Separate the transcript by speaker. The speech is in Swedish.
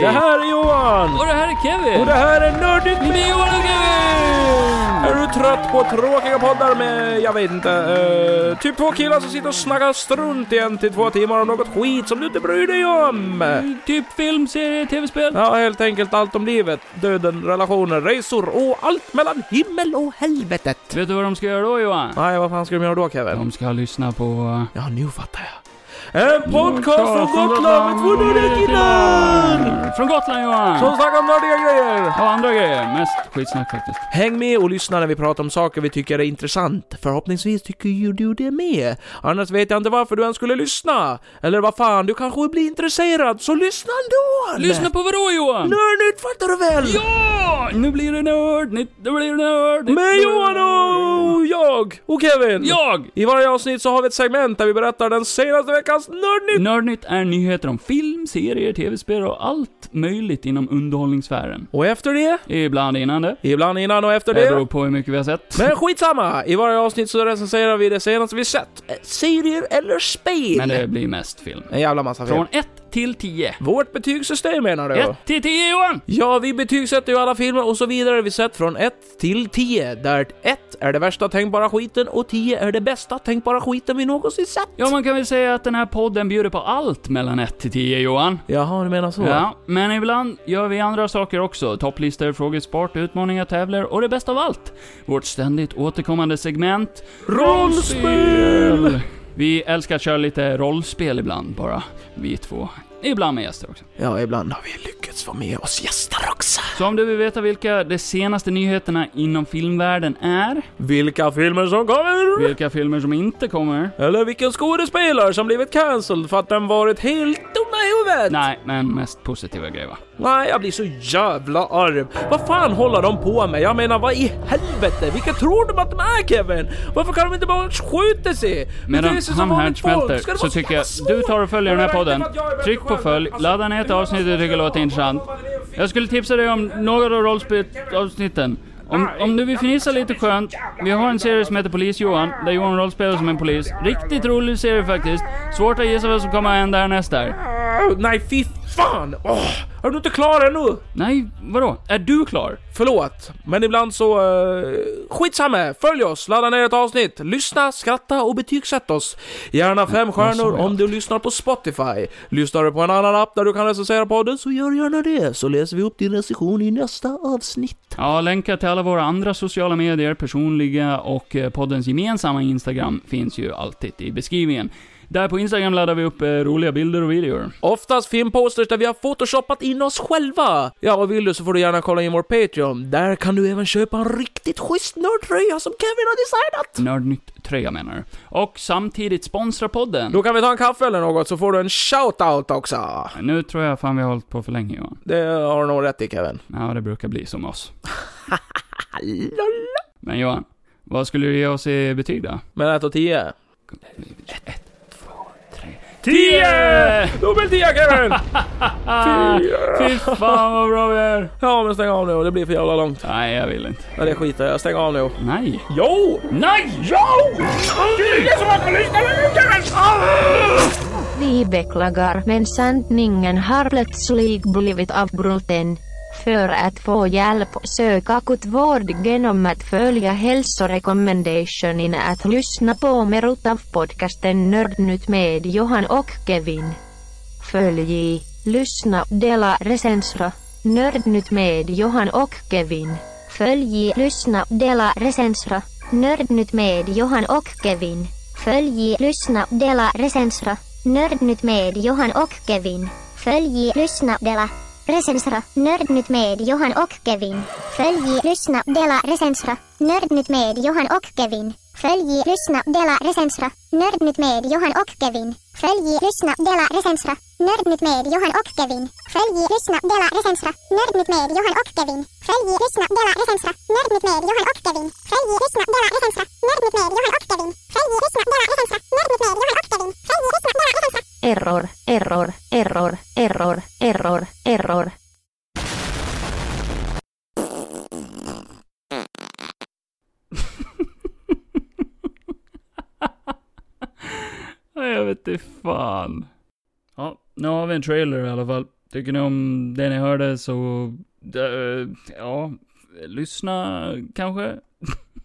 Speaker 1: Det här är Johan!
Speaker 2: Och det här är Kevin!
Speaker 1: Och det här är Nördigt
Speaker 2: med Johan och Kevin!
Speaker 1: Är du trött på tråkiga poddar med, jag vet inte, eh, typ två killar som sitter och snackar strunt i en till två timmar om något skit som du inte bryr dig om?
Speaker 2: Typ film, serie, tv-spel.
Speaker 1: Ja, helt enkelt allt om livet, döden, relationer, resor och allt mellan himmel och helvetet.
Speaker 2: Vet du vad de ska göra då Johan?
Speaker 1: Nej, vad fan ska de göra då Kevin?
Speaker 2: De ska lyssna på... eh,
Speaker 1: Ja, nu fattar jag. En podcast från Gotland med två nördiga killar!
Speaker 2: Från Gotland Johan!
Speaker 1: Som snackar om nördiga grejer!
Speaker 2: Ja, andra grejer. Mest skitsnack faktiskt.
Speaker 1: Häng med och lyssna när vi pratar om saker vi tycker är intressant. Förhoppningsvis tycker ju du det med. Annars vet jag inte varför du ens skulle lyssna. Eller vad fan, du kanske blir intresserad, så lyssna ändå!
Speaker 2: Lyssna på vadå Johan?
Speaker 1: Nördnytt fattar du väl?
Speaker 2: Ja! Nu blir det nördnytt, nu blir det nördnytt.
Speaker 1: Med Johan och jag och Kevin!
Speaker 2: Jag!
Speaker 1: I varje avsnitt så har vi ett segment där vi berättar den senaste veckans nördnytt!
Speaker 2: Nördnytt är nyheter om film, serier, tv-spel och allt möjligt inom underhållningssfären.
Speaker 1: Och efter det,
Speaker 2: Ibland innan det.
Speaker 1: ibland innan och efter
Speaker 2: Det beror
Speaker 1: det.
Speaker 2: på hur mycket vi har sett.
Speaker 1: Men skitsamma! I varje avsnitt så recenserar vi det senaste vi sett. Eh, Serier eller spel.
Speaker 2: Men det blir mest film.
Speaker 1: En jävla massa fel.
Speaker 2: Från 1 till 10.
Speaker 1: Vårt betygssystem menar du?
Speaker 2: 1 till 10 Johan!
Speaker 1: Ja, vi betygsätter ju alla filmer och så vidare vi sett från 1 till 10, där 1 är det värsta tänkbara skiten och 10 är det bästa tänkbara skiten vi någonsin sett.
Speaker 2: Ja, man kan väl säga att den här podden bjuder på allt mellan 1 till 10 Johan.
Speaker 1: Jaha, du menar så?
Speaker 2: Ja, men ibland gör vi andra saker också. Topplistor, frågesport, utmaningar, tävlar och det bästa av allt. Vårt ständigt återkommande segment
Speaker 1: Rollspel!
Speaker 2: Vi älskar att köra lite rollspel ibland bara, vi två. Ibland med gäster också.
Speaker 1: Ja, ibland har vi lyckats få med oss gäster också.
Speaker 2: Så om du vill veta vilka de senaste nyheterna inom filmvärlden är,
Speaker 1: Vilka filmer som kommer!
Speaker 2: vilka filmer som inte kommer,
Speaker 1: Eller vilken skådespelare som blivit cancelled för att den varit helt dumma i huvudet!
Speaker 2: nej, men mest positiva grejer va?
Speaker 1: Nej, jag blir så jävla arg. Vad fan håller de på med? Jag menar, vad i helvete? Vilka tror de att de är Kevin? Varför kan de inte bara skjuta sig?
Speaker 2: Medan
Speaker 1: Beter sig som
Speaker 2: han
Speaker 1: vanligt folk. Ska
Speaker 2: härdsmälter
Speaker 1: det
Speaker 2: så
Speaker 1: vara
Speaker 2: tycker jag
Speaker 1: jävla
Speaker 2: du tar och följer den här
Speaker 1: svårt?
Speaker 2: podden.
Speaker 1: Jag vet inte för att jag är bättre
Speaker 2: Tryck på
Speaker 1: själv.
Speaker 2: följ,
Speaker 1: Alltså,
Speaker 2: ladda ner ett
Speaker 1: det är
Speaker 2: avsnitt du
Speaker 1: bara-
Speaker 2: tycker låter intressant. Jag skulle tipsa dig om några av rollspelsavsnitten. Om, om du vill fnissa lite skönt, vi har en serie som heter Polis-Johan, där Johan rollspelar som en polis. Riktigt rolig serie faktiskt. Svårt att gissa vad som kommer att hända härnäst där.
Speaker 1: Ah, Nej, fy fan! Åh, är du inte klar ännu?
Speaker 2: Nej, vadå? Är du klar?
Speaker 1: Förlåt, men ibland så... Uh, skitsamma! Följ oss, ladda ner ett avsnitt, lyssna, skratta och betygsätt oss. Gärna fem
Speaker 2: sa
Speaker 1: stjärnor
Speaker 2: jag?
Speaker 1: om du lyssnar på Spotify. Lyssnar du på en annan app där du kan recensera podden så gör gärna det, så läser vi upp din recension i nästa avsnitt.
Speaker 2: Ja, länkar till alla våra andra sociala medier, personliga och eh, poddens gemensamma Instagram finns ju alltid i beskrivningen. Där på Instagram laddar vi upp eh, roliga bilder och videor.
Speaker 1: Oftast filmposters där vi har photoshoppat in oss själva. Ja, och vill du så får du gärna kolla in vår Patreon. Där kan du även köpa en riktigt schysst nördtröja som Kevin har designat.
Speaker 2: Nördnytt-tröja menar du? Och samtidigt sponsra podden.
Speaker 1: Då kan vi ta en kaffe eller något så får du en shout-out också.
Speaker 2: Nu tror jag fan vi har hållit på för länge Johan.
Speaker 1: Det har du nog rätt i Kevin.
Speaker 2: Ja, det brukar bli som oss.
Speaker 1: Lol.
Speaker 2: Men Johan, vad skulle du ge oss i betyg då?
Speaker 1: Mellan 1 och 10.
Speaker 2: Tio!
Speaker 1: Dubbel 10 Kevin!
Speaker 2: Fy fan vad bra vi är!
Speaker 1: Ja men stäng av nu, det blir för jävla långt.
Speaker 2: Nej, jag vill inte.
Speaker 1: Ja, det skiter jag stäng av nu.
Speaker 2: Nej.
Speaker 1: Jo!
Speaker 2: Nej!
Speaker 3: Vi beklagar men sändningen har plötsligt blivit avbruten. För att få hjälp sök akut vård genom att följa hälsorekommendationen att lyssna på Merutav-podcasten Nördnytt med Johan och Kevin. Följ, lyssna, dela, recensera. Nördnytt med Johan och Kevin. Följ, lyssna, dela, recensera. Nördnytt med Johan och Kevin.
Speaker 4: Följ, lyssna, dela, recensera. Nördnytt med Johan och Kevin. Följ, lyssna, dela, recensera. Nördnytt med Johan och Kevin. Följ, lyssna, dela, recensera. Nördnytt med Johan och Kevin. Följ, lyssna, dela, recensera. Nördnytt med Johan och Kevin. Följ, lyssna, dela, recensera. Nördnytt med Johan och Kevin. Följ, lyssna, dela, recensera. Nördnytt med Johan och Kevin. Följ, lyssna, dela, recensera. Nördnytt med Johan och Kevin. Följ, lyssna, dela, recensera. Nördnytt med Johan och Kevin. Följ, lyssna, dela, recensera. Nördnytt med Johan och Kevin. Följ, lyssna, dela, recensera.
Speaker 3: Error, error, error, error, error, error.
Speaker 2: Nej, jag vet inte fan. Ja, nu har vi en trailer i alla fall. Tycker ni om det ni hörde så, eh, ja, lyssna kanske?